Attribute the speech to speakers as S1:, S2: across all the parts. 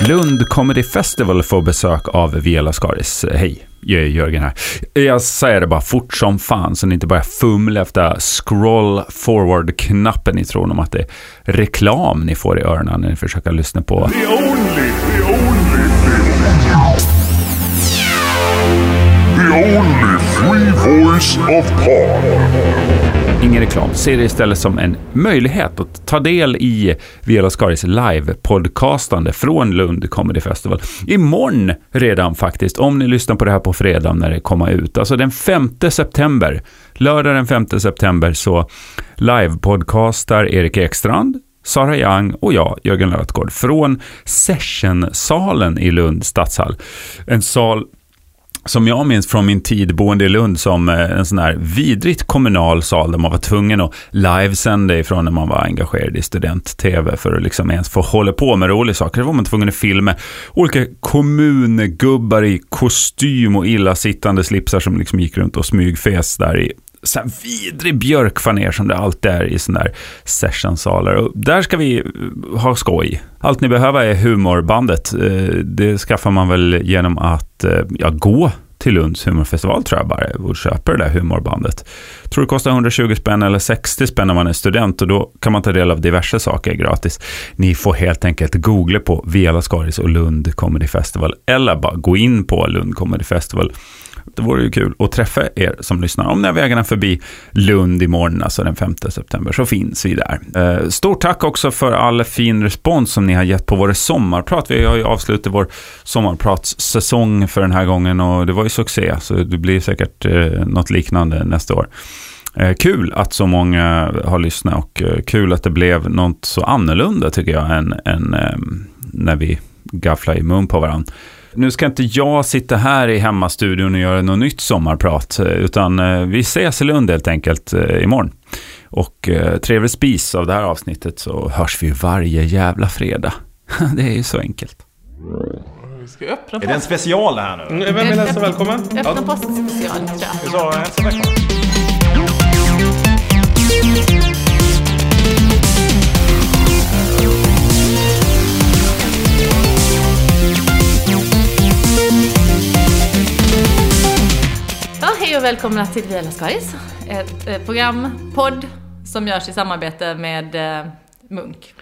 S1: Lund Comedy Festival får besök av Viola Skaris. Hej, jag är Jörgen här. Jag säger det bara fort som fan så ni inte börjar fumla efter scroll forward-knappen i tron om att det är reklam ni får i öronen när ni försöker lyssna på.
S2: The only free voice of Pod.
S1: Ingen reklam. Se det istället som en möjlighet att ta del i Viola Skaris live-podcastande från Lund Comedy Festival. Imorgon redan faktiskt, om ni lyssnar på det här på fredag när det kommer ut. Alltså den 5 september, lördag den 5 september så live-podcastar Erik Ekstrand, Sara Young och jag, Jörgen Lötgård, från Sessionsalen i Lund stadshall. En sal som jag minns från min tid boende i Lund som eh, en sån här vidrigt kommunal sal där man var tvungen att livesända ifrån när man var engagerad i student-tv för att liksom ens få hålla på med roliga saker. Då var man tvungen att filma olika kommungubbar i kostym och illasittande slipsar som liksom gick runt och smygfes där i så här vidrig björkfaner som det alltid är i sådana där sessionsalar. Och där ska vi eh, ha skoj. Allt ni behöver är humorbandet. Eh, Det skaffar man väl genom att eh, ja, gå till Lunds humorfestival tror jag bara och köper det där humorbandet. Tror det kostar 120 spänn eller 60 spänn när man är student och då kan man ta del av diverse saker gratis. Ni får helt enkelt googla på Vela Skaris och Lund Comedy Festival eller bara gå in på Lund Comedy Festival det vore ju kul att träffa er som lyssnar. Om ni har vägarna förbi Lund imorgon, alltså den 5 september, så finns vi där. Eh, Stort tack också för all fin respons som ni har gett på våra sommarprat. Vi har ju avslutat vår sommarpratssäsong för den här gången och det var ju succé, så det blir säkert eh, något liknande nästa år. Eh, Kul att så många har lyssnat och eh, kul att det blev något så annorlunda tycker jag än, än ehm, när vi gafflar i mun på varandra. Nu ska inte jag sitta här i hemmastudion och göra något nytt sommarprat, eh, utan eh, vi ses i Lund helt enkelt eh, imorgon. Och eh, trevlig spis av det här avsnittet så hörs vi varje jävla fredag. Det är ju så enkelt.
S3: Ska jag öppna
S4: Är det en special det här nu?
S3: Vem vill hälsa välkommen?
S5: Öppna postspecial tror jag.
S4: Så, hälsa välkommen.
S5: Ja, hej och välkomna till Viola Skaris. Ett eh, program, podd, som görs i samarbete med eh, Munk.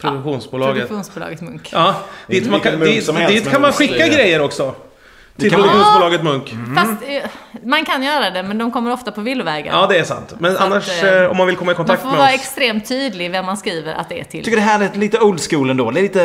S3: Produktionsbolaget.
S5: Produktionsbolaget Munk.
S3: Ja, dit,
S4: inte
S3: man kan,
S4: vilken munk
S3: dit,
S4: som helst,
S3: dit
S4: men
S3: kan man
S4: det
S3: skicka
S4: är-
S3: grejer också. Till
S4: kan man- Mm.
S3: produktionsbolaget Munk.
S5: Fast eh, man kan göra det, men de kommer ofta på villovägar.
S3: Ja, det är sant. Men
S5: Så att,
S3: annars,
S5: eh,
S3: eh, om man vill komma i
S5: man
S3: kontakt
S5: får vara
S3: med oss.
S5: extremt tydlig vem man skriver att det är till.
S4: Jag tycker det här är lite old school ändå. Det är lite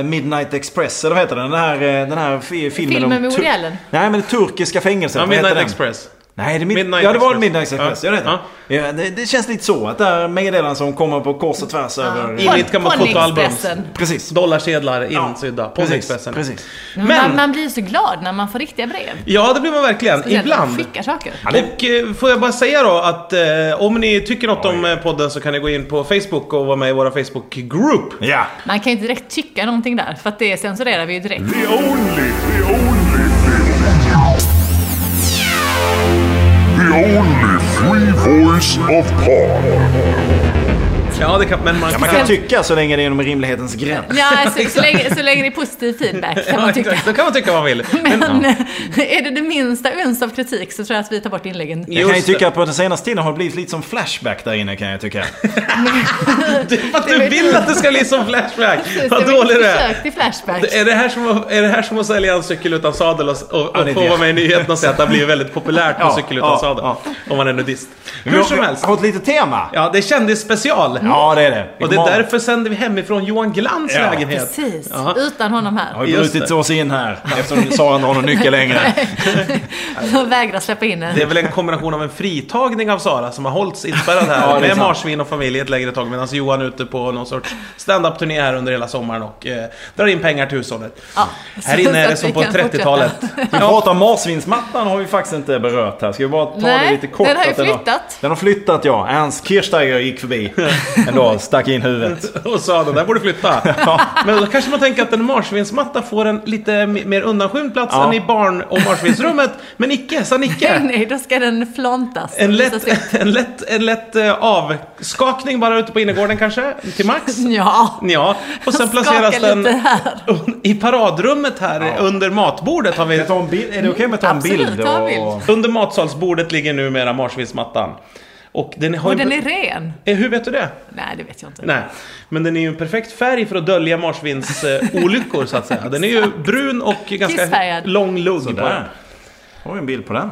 S4: eh, Midnight Express, eller vad heter den? Den här, eh, den här fi- filmen
S5: Filmen
S4: tur-
S5: med Woody Allen?
S4: Nej, men det turkiska fängelset.
S3: Ja,
S4: Vad heter
S3: Midnight
S4: den?
S3: Express.
S4: Nej, det är mid-
S3: Midnight
S4: ja, det var
S3: Express.
S4: Midnight Express. Ja.
S3: Ja.
S4: det heter den. Ja, det, det känns lite så. Att det är meddelanden som kommer på kors och tvärs över...
S3: In i ett gammalt fotoalbum.
S5: Ponyexpressen.
S4: Precis.
S3: Dollarsedlar insydda. på
S4: Precis,
S3: Expressen.
S4: precis.
S5: Man,
S3: Men,
S5: man blir ju så glad när man får riktiga brev.
S3: ja det blir man verkligen.
S5: Speciellt när de
S3: Ibland.
S5: skickar saker.
S3: Och eh, får jag bara säga då att eh, om ni tycker något om eh, podden så kan ni gå in på Facebook och vara med i våra Facebook-group.
S4: Ja.
S5: Man kan ju inte direkt tycka någonting där, för att det censurerar vi ju direkt.
S2: The only, the only The only free voice of Pod.
S3: Ja, det kan, men man
S4: Man
S3: kan...
S4: kan tycka så länge det är inom rimlighetens gräns.
S5: Ja, så, så, länge, så länge det är positiv feedback kan man
S3: Ja,
S5: tycka.
S3: exakt. Då kan man tycka vad man vill.
S5: Men eh, är det det minsta uns av kritik så tror jag att vi tar bort inläggen.
S4: Jag kan ju
S3: Just det.
S4: tycka att på den senaste tiden har det blivit lite som Flashback där inne kan jag tycka.
S3: För att du vill att det ska bli som Flashback. Vad
S5: Så
S3: dålig
S5: vi
S3: du är.
S5: Försök till Flashback.
S3: Det- Är det, här som, att- är det här som att sälja en cykel utan sadel och, och,
S4: Ja,
S3: och
S4: det är
S3: få
S4: det.
S3: vara med i nyheterna och säga att det har blivit väldigt populärt med
S4: Ja,
S3: cykel utan
S4: ja,
S3: sadel?
S4: ja.
S3: Om man är nudist.
S4: Vi
S3: Hur
S4: har-
S3: som helst.
S4: Har ett litet tema.
S3: Ja, det är kändisspecial.
S4: Ja, det är det.
S3: Och det är därför sänder vi hemifrån Johan Glans
S4: Ja.
S3: lägenhet.
S5: Precis,
S3: Ja.
S5: utan honom här.
S4: Har ju
S3: Just
S4: brutit oss in här eftersom Sara inte har någon nyckel längre.
S5: De vägrar släppa in en.
S3: Det är väl en kombination av en fritagning av Sara som har hållits inspärrad här
S4: Ja, det är
S3: med
S4: sant.
S3: marsvin och familj ett längre tag medan Johan är ute på någon sorts stand-up-turné här under hela sommaren och eh, drar in pengar till hushållet.
S5: Ja,
S3: Här
S5: så-
S3: inne är
S5: så
S3: det
S5: att
S3: som
S5: vi
S3: på
S5: kan
S3: 30-talet.
S5: fortsätta.
S4: Vi pratar om marsvinsmattan har vi faktiskt inte berört här. Ska vi bara ta det
S5: Nej,
S4: lite kort?
S5: den har ju
S4: att den
S5: flyttat. flyttat.
S4: Den har flyttat ja. Ernst Kirchsteiger gick förbi ändå. Stack in huvudet.
S3: Och sa den där borde flytta. Men då kanske man tänker att en marsvinsmatta får en lite m- mer undanskymd plats
S4: Ja.
S3: än i barn och marsvinsrummet. Men icke, sa
S5: Nej,
S3: Nicke.
S5: nej, då ska den flantas.
S3: En
S5: Så-
S3: lätt, en lätt, en lätt eh, avskakning bara ute på innergården kanske, till max.
S5: Ja.
S3: Ja, och sen
S5: Skaka
S3: placeras den
S5: lite här.
S3: i paradrummet här under matbordet har vi...
S4: Jag tar en bild. Är det okej om jag tar en
S5: Absolut,
S4: bild?
S5: ta en
S4: och-
S5: bild.
S3: Under matsalsbordet ligger numera marsvinsmattan. Och den har
S5: Och
S3: ju...
S5: den är ren.
S3: Eh, Hur vet du det?
S5: Nej, det vet jag inte.
S3: Nej, men den är ju en perfekt färg för att dölja marsvinsolyckor så att säga. Den är ju brun och ganska
S5: Kissfärgad.
S3: lång lugg på den.
S4: Där. Har vi en bild på den?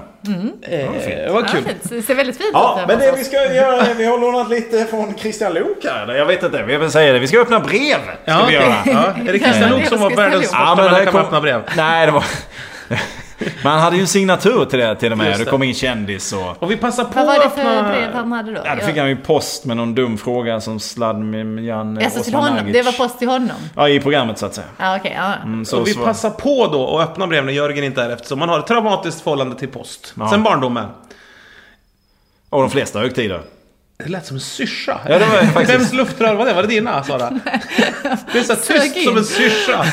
S3: Eh, vad
S5: Ja,
S3: kul.
S5: fint. Det ser väldigt fint ut.
S4: Ja,
S5: här
S4: men det
S5: på
S4: vi
S5: oss.
S4: ska göra är vi har lånat lite från Christian Lok här. eller Jag vet inte, jag vill säga det. Vi ska öppna brev. Ska
S3: Ja,
S4: vi göra.
S3: ja. Är det Kristian Lok som var världens
S5: Ja,
S3: första
S4: här
S3: människa
S4: kom-
S3: med öppna brev?
S4: Nej, det var... Man hade ju en signatur till det till och med.
S3: Just
S4: det.
S3: det.
S4: kom in kändis och...
S3: Och vi passar på
S5: Vad var det
S3: att
S5: för
S3: öppna...
S5: brev han hade då?
S4: Ja, då fick han ju post med någon dum fråga som Sladmjan
S5: Alltså till honom? Det var post till honom?
S4: Ja, i programmet så att säga.
S5: Ja, okej. ja.
S4: Mm, så
S3: Och vi
S4: svar-
S3: passar på då att öppna brev när Jörgen inte är här eftersom man har ett traumatiskt förhållande till post.
S4: Ja.
S3: Sen barndomen.
S4: Och de flesta högtider.
S3: Det lät som en syrsa.
S4: Ja, det var det faktiskt.
S3: Vems luftrör var det? Var det dina, Sara? Det är så här
S5: Sög
S3: tyst
S5: in.
S3: som en syrsa.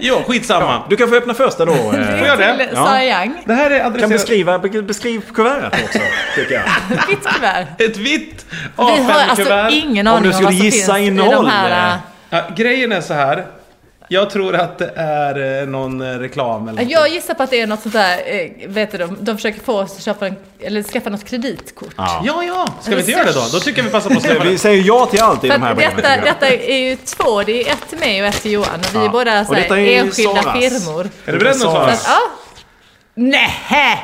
S3: Jo, skitsamma.
S4: Du kan få öppna första då. eh.
S5: Det
S3: får
S5: är
S3: jag det?
S5: till
S4: Ja.
S5: Sara Young.
S3: Det här är
S4: kan
S3: adresserat...
S4: beskriva, be- beskriv kuvertet också, tycker jag.
S5: Vitt kuvert.
S3: Ett vitt
S5: Vi har alltså
S3: A5-kuvert.
S5: ingen
S4: Om
S5: aning
S4: du
S5: om,
S4: skulle
S5: vad som
S4: gissa
S5: finns i
S4: innehåll,
S5: de här...
S4: eh,
S5: äh,
S3: Ja, grejen är så här. Jag tror att det är eh, någon eh, reklam eller något.
S5: Jag gissar på att det är något sånt där, eh, vet du, de, de försöker få oss att köpa en, eller skaffa något kreditkort.
S3: Ja, ja. Ska vi inte göra det då? Då tycker jag vi passar på att skriva
S4: Vi
S3: det.
S4: säger ja till allt i
S5: För
S4: de här
S5: att
S4: breven.
S5: detta,
S4: tycker jag.
S5: detta är ju två, det är ett till mig och ett till Johan. Och vi
S4: Ja.
S5: är båda så
S4: Och
S5: här,
S4: detta är ju
S5: enskilda
S4: Saras.
S5: firmor.
S3: Är du beredd nu
S5: Så
S3: Sara?
S5: att, ja. Nähä!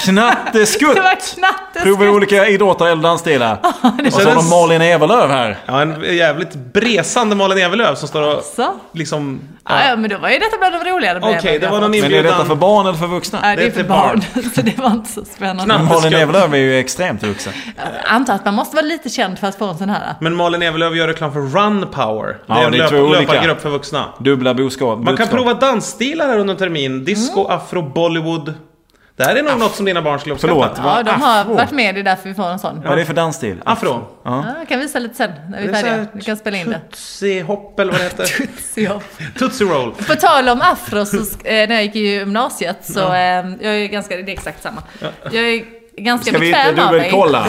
S4: Knatteskutt!
S5: Det var knattet
S4: Provar olika idrotter eller dansstilar. Och så
S3: känns-
S4: har de Malin Ewerlöf här.
S3: Ja, en jävligt bresande Malin Ewerlöf som står och
S5: Så.
S3: liksom...
S5: Ja, ja, men då var ju detta bland de roligare
S3: Okej,
S5: breven
S3: det
S5: jag
S3: var någon
S5: fått.
S4: Men är detta för
S3: inbjudan.
S4: barn eller för vuxna?
S5: Nej, det är för barn. Så det var inte så spännande.
S3: Knappt.
S4: Malin Ewerlöf är ju extremt vuxen.
S5: Jag antar att man måste vara lite känd för att få en sån här.
S3: Men Malin Ewerlöf gör reklam för Run Power. Det
S4: Ja,
S3: är en
S4: det är
S3: löp,
S4: två olika.
S3: löpargrupp för vuxna.
S4: Dubbla boskap.
S3: Man kan prova dansstilar här under termin. Disco,
S5: Mm.
S3: afro, Bollywood. Det här är nog något som dina barn skulle uppskatta.
S4: Förlåt,
S5: Ja,
S4: vad
S5: de har
S4: afro.
S5: varit med, det är därför vi får en sån.
S4: Vad är det för dansstil?
S3: Afro.
S5: Ja, jag kan visa lite sen när vi är
S3: Det är så
S5: färdiga.
S3: här
S5: Vi kan spela in det.
S3: Tutsi-hopp eller vad det heter.
S5: Ja.
S3: Tutsi roll.
S5: På tal om afro, så, sk- eh, när jag gick i gymnasiet så eh, jag är ganska, det är exakt samma. Jag är ganska
S4: Ska vi inte
S5: bekväm av mig.
S4: dubbelkolla?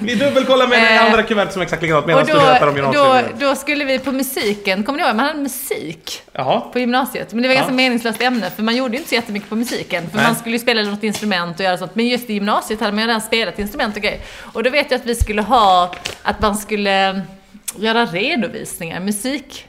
S3: Vi dubbelkollar med det
S5: Eh,
S3: andra kuvertet som är exakt likadant medan
S5: Och
S3: du berättar om
S5: då, då,
S3: gymnasiet.
S5: då skulle vi på musiken, kommer ni ihåg? Man hade musik
S3: Jaha.
S5: på gymnasiet. Men det var ganska meningslöst ämne för man gjorde ju inte så jättemycket på musiken. För
S3: Nej.
S5: man skulle ju spela något instrument och göra sånt. Men just i gymnasiet hade man ju redan spelat instrument och grejer. Och då vet jag att vi skulle ha, att man skulle göra redovisningar,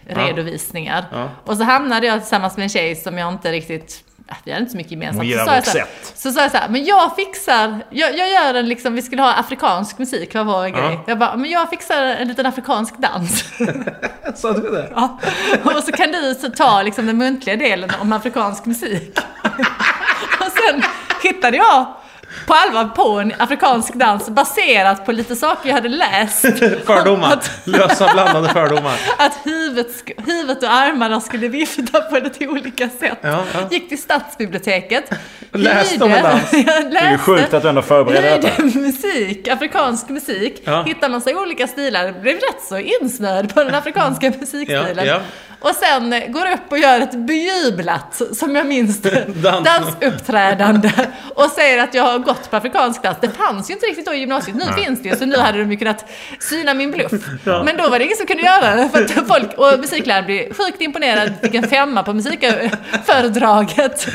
S5: musikredovisningar.
S3: Ja.
S5: Och så hamnade jag tillsammans med en tjej som jag inte riktigt äh, vi hade inte så mycket
S4: Hon
S5: gemensamt.
S4: gillar
S5: Så sa jag
S4: vårt
S5: så här-
S4: sätt.
S5: så sa jag så här, men jag fixar, jag, jag gör en liksom, vi skulle ha afrikansk musik, var vår grej. Jag bara, men jag fixar en liten afrikansk dans.
S3: Sa du det?
S5: Ja. Och så kan du så ta liksom den muntliga delen om afrikansk musik. Och sen hittade jag på allvar på en afrikansk dans baserat på lite saker jag hade läst.
S3: Fördomar.
S5: Att,
S3: Lösa blandade fördomar.
S5: att huvudet, sk- huvudet och armarna skulle vifta på lite olika sätt.
S3: Ja, ja.
S5: Gick till stadsbiblioteket.
S3: Läste om en
S5: hyrde-
S3: dans.
S5: Jag
S4: Det är ju
S5: läste.
S4: sjukt att du ändå förbereder detta.
S5: Nöjd musik, afrikansk musik.
S3: Ja.
S5: Hittar massa olika stilar. Blev rätt så insnöad på den afrikanska musikstilen.
S3: Ja, ja.
S5: Och sen eh, går upp och gör ett bejublat, som jag minns det,
S3: Dans.
S5: dansuppträdande. Och säger att jag har gått på afrikansk dans. Det fanns ju inte riktigt då i gymnasiet. Nu finns det ju, så nu hade de ju kunnat syna min bluff. Men då var det ingen som kunde göra det. För att folk, och musikläraren blev sjukt imponerad. Fick en femma på musikföredraget.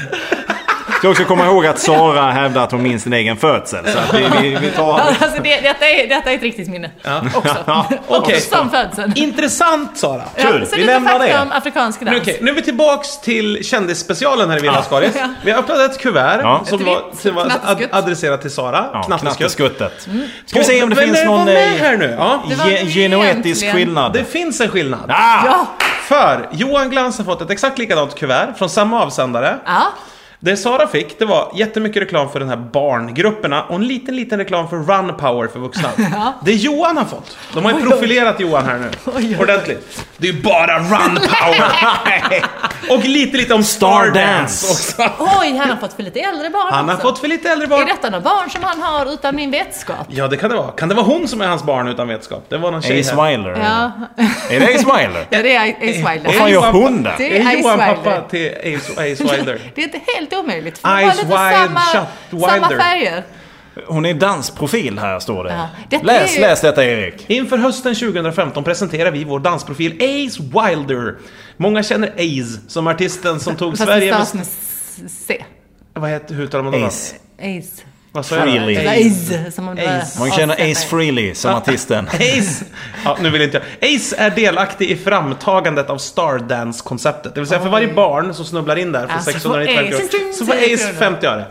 S4: Ska också komma ihåg att Sara hävdar att hon minns sin egen födsel. Så att vi, vi, vi tar...
S5: Alltså det, detta, är, detta är ett riktigt minne också.
S3: Okej.
S5: Också som födseln.
S3: Intressant Sara!
S4: Kul,
S5: så
S4: vi
S5: lite
S4: lämnar
S5: fakta
S4: det.
S5: om afrikansk
S3: Nu,
S5: dans.
S3: okej, nu är vi tillbaks till kändisspecialen här i Villa
S4: Ja.
S3: Skaris.
S5: Ja.
S3: Vi har öppnat ett kuvert
S4: Ja.
S3: som,
S5: Ett
S3: var,
S5: vitt
S3: som var ad-
S5: knatteskutt.
S3: adresserat till Sara.
S4: Ja,
S3: Knatteskutt.
S4: knattesskuttet. Ska vi se om det finns
S3: Mm. Men
S4: någon
S3: var med
S4: eh,
S3: här nu. Ja.
S5: Det var
S4: ge-
S5: det
S4: genetisk
S5: egentligen.
S4: skillnad?
S3: Det finns en skillnad.
S4: Ah!
S5: Ja.
S3: För Johan Glans har fått ett exakt likadant kuvert från samma avsändare.
S5: ja.
S3: Det Sara fick, det var jättemycket reklam för den här barngrupperna och en liten, liten reklam för Run Power för vuxna. Det Johan har fått. De har ju
S5: Oj, oj.
S3: profilerat Johan här nu.
S5: Oj, oj.
S3: Ordentligt. Det är ju bara Run Power. och lite, lite om Stardance också.
S5: Oj, han har fått för lite äldre barn
S3: Han har
S5: också.
S3: fått för lite äldre
S5: Är
S3: barn.
S5: detta några barn som han har utan min vetskap?
S3: Ja, det kan det vara. Kan det vara hon som är hans barn utan vetskap? Det var någon tjej
S4: Ace
S3: här.
S4: Wilder.
S5: Ja,
S4: Är det Ace Wilder?
S5: ja det är Ace Wilder.
S4: Vad fan gör hon där?
S5: Det
S3: Det är
S5: är
S3: Johan
S5: Ice
S3: pappa
S5: Wilder.
S3: till Ace, Ace Wilder.
S5: Det är inte helt omöjligt. För de har
S3: Ice
S5: lite
S3: Wide
S5: samma,
S3: Shut
S5: samma
S3: Wilder.
S5: färger.
S4: Hon är dansprofil här står
S5: Ja.
S4: det.
S5: Detta
S4: läs,
S5: är ju-
S4: läs detta Erik.
S3: Inför hösten 2015 presenterar vi vår dansprofil Ace Wilder. Många känner Ace som artisten som tog
S5: Fast det
S3: Sverige med...
S5: stavas med s- C.
S3: Vad heter, hur uttalar man det då?
S4: Ace.
S5: Ace.
S3: Vad sa jag? då?
S4: Freely.
S3: Ace.
S5: Ace. Som man bara
S3: Ace.
S4: Man känner Ace
S5: avskaffar.
S4: Freely som artisten.
S3: Ace! Ja, nu vill inte jag. Ace är delaktig i framtagandet av Stardance-konceptet. Det vill säga för varje barn som snubblar in där för
S5: Ja, så
S3: 695
S5: får Ace-
S3: kronor så får Ace 50 öre.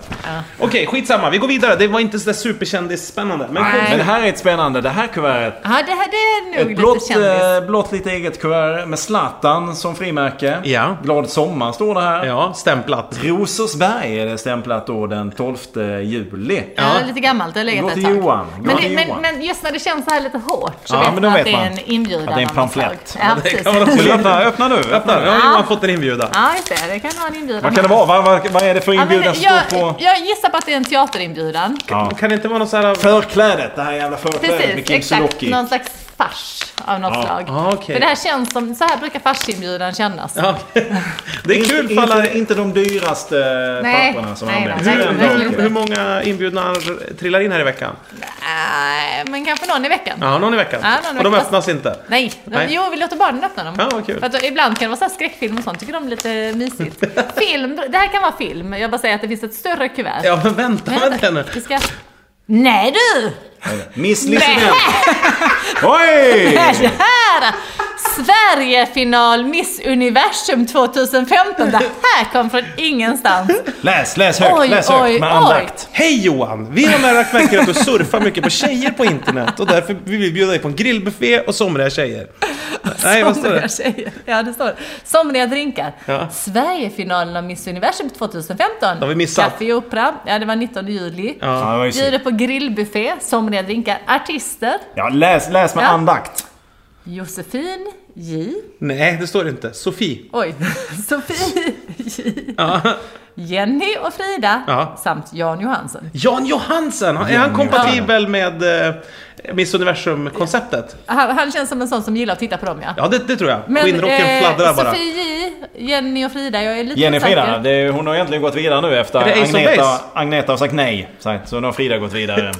S3: Okej, skitsamma. Vi går vidare. Det var inte sådär superkändisspännande. Men
S5: Nej.
S4: Men det här är ett spännande. Det här kuvertet
S5: Ja, det här det är nog
S4: Ett
S5: lite
S4: blått,
S5: kändis.
S4: eh, blått lite eget kuvert med Zlatan som frimärke.
S3: Ja.
S4: Glad sommar står det här.
S3: Ja, stämplat.
S4: Rosersberg är det stämplat då den 12 juli.
S5: Ja. lite gammalt, det har legat
S4: Gå
S5: ett
S4: till
S5: tag.
S4: Johan, gå
S5: Men, det,
S4: till
S5: men,
S4: Johan.
S5: men just när det känns så här lite hårt så
S4: Ja, men
S5: vet man
S4: då
S5: att
S4: vet
S5: det är
S4: man
S5: en inbjudan.
S4: att det är en
S5: av något
S4: pamflett.
S5: slag. Ja, precis.
S3: kan man också-
S4: Vill du öppna, öppna nu.
S3: Öppna, nu har Johan fått en inbjudan.
S5: Ja, just det. Det kan vara en inbjudan.
S4: Vad kan det vara? Vad, vad, vad är det för
S5: Ja, men
S4: inbjudan som
S5: jag,
S4: står på...
S5: jag gissar på att det är en teaterinbjudan.
S4: Ja.
S3: Kan det inte vara någon sån här...
S4: Förklädet, det här jävla förklädet med
S5: Precis,
S4: Kim
S5: exakt.
S4: Sulocki.
S5: Någon slags fars av något slag.
S3: Ah, okej.
S5: För det här känns som, så här brukar farsinbjudan kännas.
S3: Ja. Det är kul för alla...
S4: inte, inte de dyraste eh,
S5: Nej,
S4: papperna som
S5: nej,
S4: används.
S5: nej,
S4: Det är
S5: nej,
S4: ändå
S5: nej.
S4: okej.
S3: Hur många inbjudna trillar in här i veckan?
S5: Nej, Eh, men kanske någon i veckan.
S3: Ja, någon i veckan.
S5: Ja, någon i
S3: och de
S5: veckan.
S3: öppnas inte.
S5: Nej.
S3: Nej.
S5: jo vi låter barnen öppna dem.
S3: Ja, vad kul.
S5: För att ibland kan det vara så här skräckfilm och sånt, tycker de är lite mysigt. film, det här kan vara film, jag bara säger att det finns ett större kuvert.
S3: Ja, men vänta med den.
S5: vi ska... Nej du!
S4: Miss
S5: Nej,
S4: Lisinell. Oj!
S5: det här! Sverigefinal Miss Universum 2015, det här kom från ingenstans.
S4: Läs, läs högt,
S5: Oj,
S4: läs
S5: oj,
S4: högt med
S5: oj.
S4: andakt.
S3: Hej Johan! Vi har märkt verkligen att du surfar mycket på tjejer på internet och därför vill vi bjuda dig på en grillbuffé och somriga tjejer. Nej, vad står det?
S5: Somriga tjejer. Ja, det står det. Somriga drinkar.
S3: Ja.
S5: Sverigefinalen av Miss Universum 2015.
S3: Har vi missat?
S5: Café Opera. Ja, det var 19 juli.
S4: Ja, det var ju synd.
S5: Bjuder på grillbuffé, somriga drinkar, artister.
S4: Ja, läs, läs med
S5: Ja.
S4: andakt.
S5: Josefin J.
S3: Nej, det står det inte. Sofie.
S5: Oj, Sofie J. Jenny och Frida.
S3: Ja.
S5: Samt Jan Johansson.
S3: Jan Johansen! Är han kompatibel med eh, Miss Universum-konceptet?
S5: Han, han känns som en sån som gillar att titta på dem ja.
S3: Ja, det, det tror jag.
S5: Men
S3: Skinnrocken
S5: eh,
S3: fladdrar bara.
S5: Sofie J, Jenny och Frida, jag är lite
S4: Jenny och Frida,
S5: osäker.
S4: det är, hon har egentligen gått vidare nu efter
S3: Är det Ace of
S4: Agneta,
S3: Base?
S4: Agneta har sagt nej. Så att- så nu har Frida gått vidare.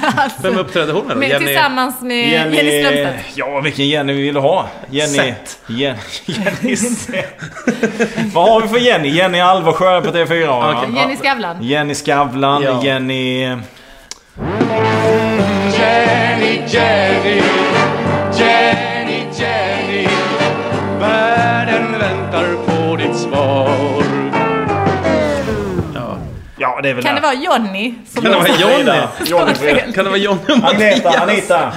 S3: Vem uppträdde hon med då?
S5: Men
S3: Jenny?
S5: Alltså, tillsammans med Jenny, Strömstedt.
S4: Eh, Ja, vilken Jenny vi vill ha. Jenny...
S3: Sett.
S4: Jenny, Jenny Sett. Vad har vi för Jenny? Jenny Alversjö på TV4. va?
S3: Okej.
S5: Jenny Skavlan.
S4: Jenny Skavlan,
S3: Ja.
S4: Jenny... Ja, det är väl
S5: Kan det vara Jonny? Som
S3: Kan det vara Johnny?
S4: Johnny Frida.
S3: Kan det vara Johnny och
S4: Agneta,
S3: Mattias?
S4: Anita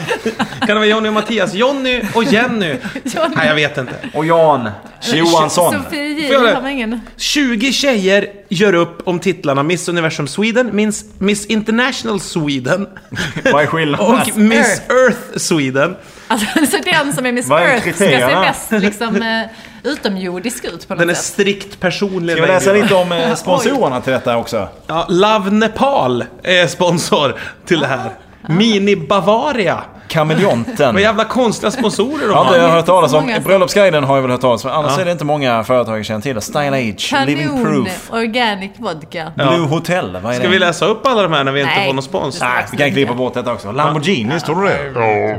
S3: Kan det vara Johnny och Mattias? Johnny och Jenny?
S5: Johnny.
S3: Nej, jag vet inte.
S4: och Jan Johansson.
S5: Sofie J,
S3: Får jag det?
S5: har man ingen.
S3: 20 tjejer gör upp om titlarna Miss Universum Sweden, Miss, Miss International Sweden
S4: Vad är skillnaden?
S3: och Miss Earth Sweden.
S5: Alltså, så den som är Miss
S4: Vad är
S5: Earth ska se
S4: kriterierna?
S5: mest liksom, eh, utomjordisk ut på något
S3: Den är
S5: sätt.
S3: strikt personlig.
S4: Ska vi läsa
S3: baby.
S4: lite om eh, sponsorerna till detta också?
S3: Ja, Love Nepal är sponsor till det här. Mini Bavaria.
S4: Kameleonten.
S3: Vad jävla konstiga sponsorer
S4: Ja,
S3: de
S4: det har
S3: har.
S4: jag hört talas om.
S5: Många som-
S4: Bröllopsguiden har jag väl hört talas om. Annars är det inte många företag jag känner till. Style Age, Living
S5: Kanon
S4: Proof,
S5: organic vodka.
S4: Blue Hotel. Vad är
S3: Ska
S4: det?
S3: vi läsa upp alla de här när vi inte
S5: Nej.
S3: får någon spons?
S5: Nej.
S4: Vi kan klippa bort detta också. Lamborghini, står det det?
S2: Ja.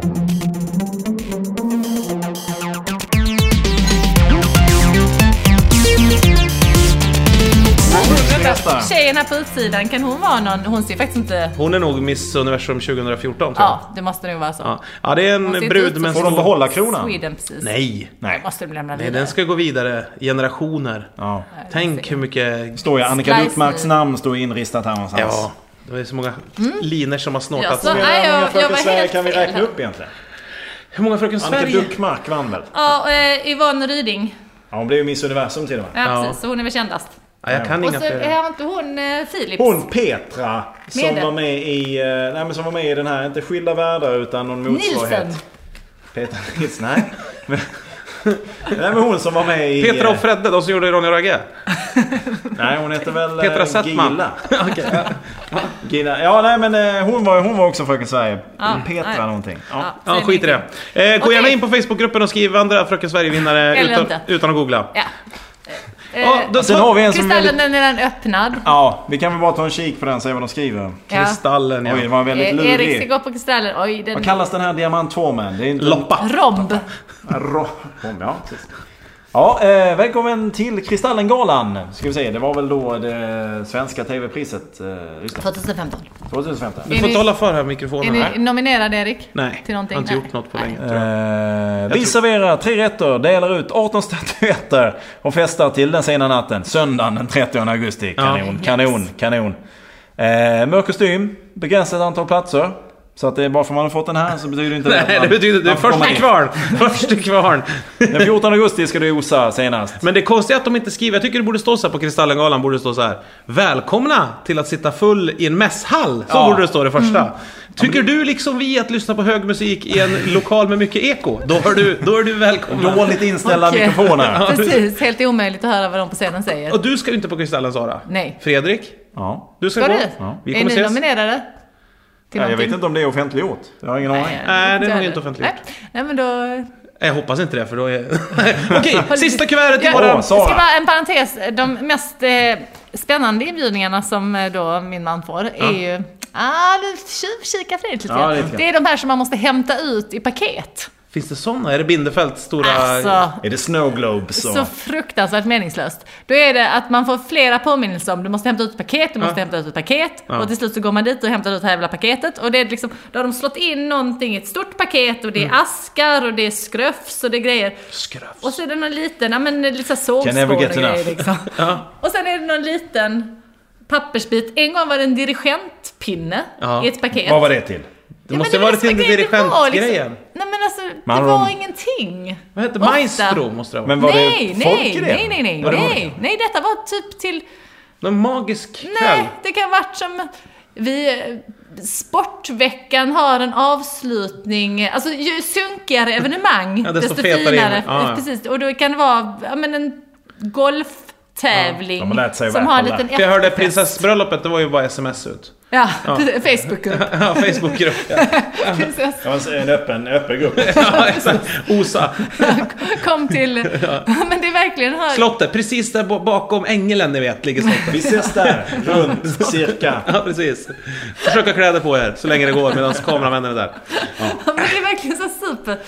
S4: Nästa.
S5: Tjejen här på utsidan, kan hon vara någon? Hon ser faktiskt inte...
S3: Hon är nog Miss Universum 2014 tror jag.
S5: Ja, det måste nog vara så.
S3: Ja, ja det är en
S5: Hon ser inte ut
S3: brud
S5: som-
S3: med en
S4: Får de
S3: stor-
S4: behålla kronan?
S5: Sweden precis.
S3: Nej.
S4: Nej.
S5: Måste de lämna
S3: Nej,
S5: vidare.
S3: den ska gå vidare generationer.
S4: Ja.
S3: Tänk hur mycket...
S4: Står ju Annika
S5: Slice
S4: Duttmarks
S5: i-
S4: namn står inristat här någonstans.
S3: Ja, det är så många linor som har
S5: Mm. Ja,
S3: snortats.
S5: så- Nej, jag- jag var helt
S4: kan vi
S5: fel
S4: räkna
S5: här.
S4: upp egentligen?
S3: Hur många Fröken Sverige?
S4: Annika Duttmark vann väl?
S5: Ja, och, eh, Yvonne Ryding.
S4: Ja, hon blev ju Miss Universum till och med.
S5: Ja,
S3: Ja.
S5: precis. Så hon är väl kändast.
S3: Nej, Ja, jag kan
S5: Och
S3: inga
S5: så
S3: fler.
S5: är inte hon eh, Philips?
S4: Hon Petra som
S5: Medel.
S4: var med i... eh, Nej men som var med i den här, inte Skilda Världar utan någon motsvarighet.
S5: Nielsen!
S4: Petra Nils, nej. Men, nej men hon som var med i...
S3: Petra och Fredde, de som gjorde Ronja och Ragge.
S4: Nej hon heter väl... eh,
S3: Petra Settman.
S4: Gilla. Gilla. Ja nej men eh, hon var, hon var också Fröken Sverige.
S5: Ja,
S4: Petra
S5: Ah, nej. Ah.
S4: någonting. Ja.
S5: Ja,
S3: Ja,
S5: säg
S3: skit i det.
S5: ingenting.
S3: Eh, gå
S5: Okej.
S3: gärna in på Facebookgruppen och skriv andra Fröken Sverige-vinnare
S5: Eller
S3: utan,
S5: inte.
S3: utan att googla.
S5: Ja. Eh,
S3: Ja, då,
S4: Sen har vi en som är
S5: Kristallen
S4: väldigt...
S5: den är redan öppnad.
S4: Ja, vi kan väl bara ta en kik på den och se vad de skriver.
S5: Ja.
S3: Kristallen,
S4: Oj, det
S3: ja.
S4: var en väldigt
S5: Eh, Erik ska
S4: lurig.
S5: gå på Kristallen. Oj, den...
S4: Vad kallas den här diamantformen? Det är inte...
S3: Loppa.
S5: Romb.
S4: Ro- ja, precis. Ja, eh, välkommen till Kristallengalan. Ska vi se, det var väl då det svenska TV-priset. Eh, just det,
S5: 2015.
S4: 2015.
S3: Du får inte hålla för här mikrofonen.
S5: Är
S3: Nej.
S5: ni nominerad Erik?
S3: Nej,
S5: Till
S3: jag
S5: någonting?
S3: har inte
S5: Nej.
S3: gjort något på
S5: Nej.
S3: länge. tror jag.
S4: Eh, vi serverar tre rätter, delar ut 18 statyetter och festar till den sena natten. Söndagen den 30 augusti. Kanon,
S5: Ja.
S4: kanon,
S5: Yes.
S4: kanon. Eh, mörk kostym, begränsat antal platser. Så att det är bara för att man har fått den här så betyder det inte att
S3: Nej,
S4: man,
S3: det betyder det är
S4: man får
S3: först
S4: komma
S3: till
S4: in.
S3: kvarn. Först till kvarn.
S4: Den 14 augusti ska du osa senast.
S3: Men det konstiga är att de inte skriver, jag tycker det borde stå så här på Kristallengalan, borde det stå så här. Välkomna till att sitta full i en mässhall. Så
S4: Ja.
S3: borde det stå det första.
S5: Mm.
S3: Tycker du liksom vi att lyssna på hög musik i en lokal med mycket eko, då är du, då är du välkommen.
S4: Dåligt inställda
S5: Okej.
S4: mikrofoner.
S5: Precis, helt omöjligt att höra vad de på scenen säger.
S3: Och du ska ju inte på Kristallen Sara.
S5: Nej.
S3: Fredrik,
S4: Ja.
S3: du ska,
S5: Ska
S3: gå.
S5: du?
S3: Vi
S5: Är
S3: kommer
S5: ni
S3: ses.
S5: nominerade? Till
S4: Ja, jag
S5: någonting?
S4: vet inte om det är offentliggjort. Jag har ingen aning.
S3: Nej, det är nog
S5: jag
S3: inte offentligt.
S5: Nej. Nej, men då...
S3: Jag hoppas inte det för då är... Okej, sista kuvertet i
S5: Ja,
S3: våran...
S4: Åh,
S5: jag
S4: Sara.
S5: ska bara en parentes. De mest eh, spännande inbjudningarna som eh, då min man får är ju... Ah, nu tjuvkikar Fredrik lite
S4: Ja,
S5: grann.
S4: lite grann.
S5: Det är de här som man måste hämta ut i paket.
S3: Finns det såna? Är det Bindefelds stora...
S5: Alltså,
S4: Är det snowglobes?
S5: så fruktansvärt meningslöst. Då är det att man får flera påminnelser om du måste hämta ut ett paket, du måste
S3: Ja.
S5: hämta ut ett paket.
S3: Ja.
S5: Och till slut så går man dit och hämtar ut det här jävla paketet. Och det är liksom, då har de slått in någonting i ett stort paket och det är askar och det är skröfs och det är grejer.
S3: Skrövs.
S5: Och så är det någon liten, ja men lite såhär
S4: Can never
S5: sågspån
S4: get
S5: och grejer
S4: enough.
S5: liksom. Och sen är det någon liten pappersbit. En gång var det en dirigentpinne
S3: Ja.
S5: i ett paket.
S4: Vad var det till?
S3: Det måste ju varit till dirigentgrejen.
S5: Nej men alltså, det
S4: andra
S5: var
S4: ord-
S5: ingenting.
S3: Vad hette
S5: Ofta.
S3: Maestro måste det ha varit.
S4: Men var
S5: nej,
S4: det folk
S5: nej,
S4: i det?
S5: nej, nej, nej,
S4: Var det
S5: nej, nej, detta var typ till,
S3: Någon magisk kväll.
S5: nej, det kan ha varit som, vi, Sportveckan har en avslutning, alltså ju sunkigare evenemang,
S3: Ja, desto fetare är det. Ja, ja.
S5: Precis, och då kan det vara, ja men en golftävling
S4: Ja, de har lärt sig
S5: som
S4: väl
S5: har en
S4: alla.
S5: liten
S3: För jag hörde
S5: efterfest.
S3: prinsessbröllopet, det var ju bara sms ut.
S5: Ja, precis, Facebookgrupp.
S3: Ja, Facebookgrupp. Ja.
S5: Prinsess.
S4: Det var en öppen, öppen grupp.
S3: Ja, exakt. Osa.
S5: Kom till... Men det är verkligen... Här.
S3: Slottet, precis där bo- bakom ängeln ni vet ligger slottet.
S4: Vi ses där, runt, cirka.
S3: Ja, precis. Försök ha kläder på er så länge det går medan kameramännen är där.
S5: Men det är verkligen så super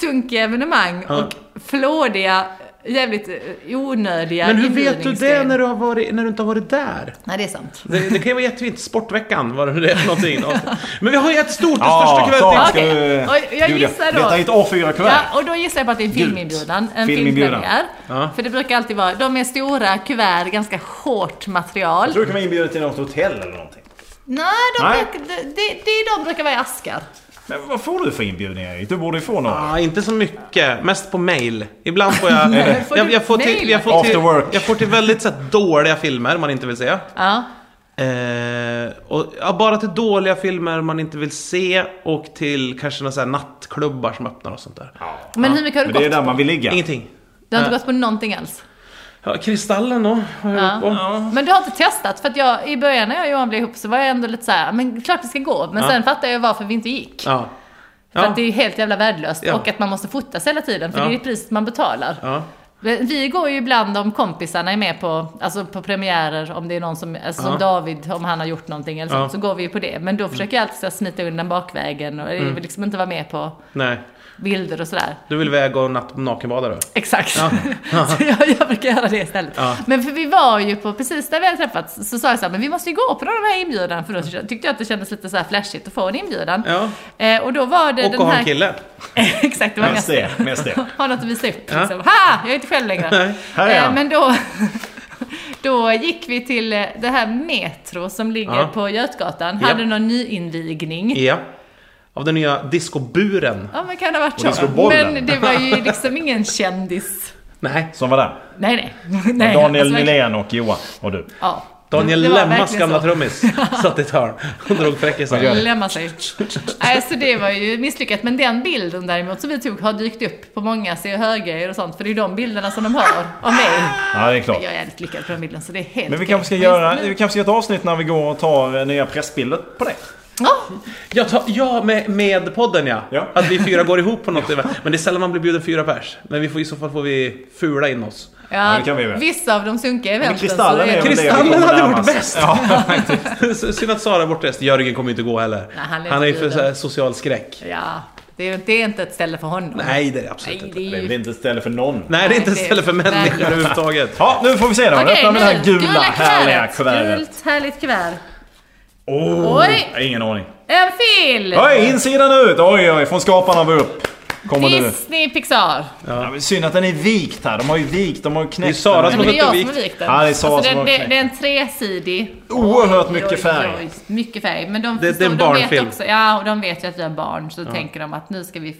S5: sunkiga evenemang och flådiga, jävligt eh, onödiga
S3: Men hur vet du det
S5: inbjudningsgrejer.
S3: när du, har varit, när du inte har varit där?
S5: Nej, det är sant.
S3: Det, det kan ju vara jättefint. Sportveckan var det nu det är någonting. Men vi har ju ett stort, det
S4: Ja,
S3: största
S4: Sara
S3: kuvertet.
S4: ska
S5: Okej.
S4: du...
S5: Och jag
S4: Julia,
S5: gissar då.
S4: Detta är ett A4 kuvert.
S5: Ja, och då gissar jag på att det är en filminbjudan. En
S4: Filminbjudan.
S5: filmpremiär.
S3: Ja.
S5: För det brukar alltid vara, de är stora kuvert, ganska hårt material.
S4: Jag tror du kan vara inbjuden till något hotell eller någonting.
S5: Nej, de
S4: Nej.
S5: Brukar, det, det, det är de brukar vara i askar.
S4: Men vad får du för inbjudningar Erik? Du borde ju få några.
S3: Ah, inte så mycket. Mest på mail. Ibland får jag...
S5: Nej, får
S3: jag,
S5: du
S3: jag, får till,
S5: mail?
S3: jag, får
S4: After
S3: till,
S4: work.
S3: jag får till väldigt så här, dåliga filmer man inte vill se.
S5: Ja.
S3: Eh, och, ja, bara till dåliga filmer man inte vill se och till kanske några så här nattklubbar som öppnar och sånt där.
S5: Men hur mycket har du
S4: Men det är
S5: gått?
S4: där man vill ligga.
S3: Ingenting.
S5: Du har inte gått på någonting alls?
S3: Ja, kristallen då, har jag
S5: Ja.
S3: gått på.
S5: Men du har inte testat? För att jag, i början när jag och Johan blev ihop så var jag ändå lite så här, men klart vi ska gå. Men
S3: Ja.
S5: sen fattade jag varför vi inte gick.
S3: Ja.
S5: För
S3: Ja.
S5: att det är helt jävla värdelöst.
S3: Ja.
S5: Och att man måste fotas hela tiden, för
S3: Ja.
S5: det är det priset man betalar.
S3: Ja.
S5: Men Vi går ju ibland om kompisarna är med på, alltså på premiärer, om det är någon som, alltså som
S3: Ja.
S5: David, om han har gjort någonting eller
S3: Ja. Mm.
S5: sånt, så går vi ju på det. Men då försöker jag alltid så här smita undan bakvägen och jag vill liksom inte vara med på
S3: Nej.
S5: bilder och sådär.
S3: Du vill väga och natt- nakenbada då?
S5: Exakt. så jag, jag brukar göra det istället.
S3: Ja.
S5: Men för vi var ju på, precis där vi hade träffats, så sa jag så här, men vi måste ju gå på den här inbjudan. För då tyckte jag att det kändes lite så här flashigt att få en inbjudan.
S3: Mm. Ja.
S5: Eh, och då var det
S3: Och
S5: den
S3: ha
S5: här...
S3: en kille?
S5: Exakt, det var
S4: Mest
S5: mest
S4: det, mest det.
S5: Ha något att visa upp liksom. Ha! Jag är inte själv längre. Eh,
S4: Här är han.
S5: men då... Då gick vi till eh, det här Metro som ligger
S3: Ja.
S5: på Götgatan.
S3: Ja.
S5: Hade någon nyinvigning.
S3: Ja. Av den nya discoburen.
S5: Ja men kan det ha varit
S4: det
S5: så.
S4: slog bollen.
S5: Men det var ju liksom ingen kändis.
S3: Nej.
S4: som var där.
S5: Nej, nej. nej alltså-
S4: Daniel
S5: verkligen-
S4: Nylén och Johan och du.
S5: Ja.
S3: Daniel
S5: Det var
S3: Lemmas
S5: verkligen
S3: gamla
S5: så.
S3: trummis satt i ett hörn och drog fräckisar.
S5: Lämna sig. Nej, så det var ju misslyckat. Men den bilden däremot som vi tog har dykt upp på många se och hörgrejer och sånt. För det är ju de bilderna som de hör av mig.
S4: Ja, det är klart.
S5: Jag är jävligt lyckad på den bilden så det är helt
S4: Men vi
S5: okej.
S4: kanske ska
S5: just
S4: göra
S5: nu-
S4: vi kanske ska göra ett avsnitt när vi går och tar eh, nya pressbilder på det.
S5: Ja,
S3: Ja, ta, ja med, med podden ja.
S4: Ja.
S3: Att vi fyra går ihop på något. event. Men det är sällan man blir bjuden fyra pers. Men vi får, i så fall får vi fula in oss.
S5: ja,
S4: det kan vi göra.
S5: vissa av de sunkiga
S4: Men
S5: eventen.
S4: Kristallen
S5: så
S4: är väl det vi
S3: Kristallen
S4: kommer
S3: hade varit
S4: närmast.
S3: bäst.
S4: Ja.
S3: Så Synd att Sara är bortrest. Jörgen kommer ju inte gå heller.
S5: Nej, han är
S3: han är ju för
S5: förbjuden.
S3: så här, social skräck.
S5: Ja, det är, det är inte ett ställe för honom.
S3: Nej, det är det absolut
S5: Nej,
S3: inte.
S4: Det
S5: det
S4: är
S5: är
S4: väl
S5: ju...
S4: inte ett ställe för någon.
S3: Nej, det är inte ett
S5: Nej, det-
S3: ställe för människor
S5: nej.
S3: överhuvudtaget.
S4: Ja, nu får vi se då. Nu öppnar vi det här gula, härliga kuvertet.
S5: Gult härligt kuvert.
S4: Oh,
S5: Oj.
S4: Ingen aning.
S5: En fil!
S4: Oj, insidan ut! Oj, oj, från skaparna av upp. Kommer det nu.
S5: Disney Pixar.
S4: Ja, men synd att den är vikt här. De har ju vikt, de har ju knäckt
S3: Det är Sara
S4: den.
S5: Nej,
S3: som
S5: men det är jag
S3: har
S5: som har vikt den. Alltså,
S4: Ja, det är Sara som
S5: det,
S4: har
S5: det,
S4: knäckt.
S5: det är en tresidig.
S4: Oerhört mycket
S5: Oj, oj,
S4: färg.
S5: oj, mycket färg. Men de,
S3: Det-
S5: förstår,
S3: det är en
S5: de vet
S3: barnfilm.
S5: också, ja, och de vet ju att vi har barn. Så tänker de att nu ska vi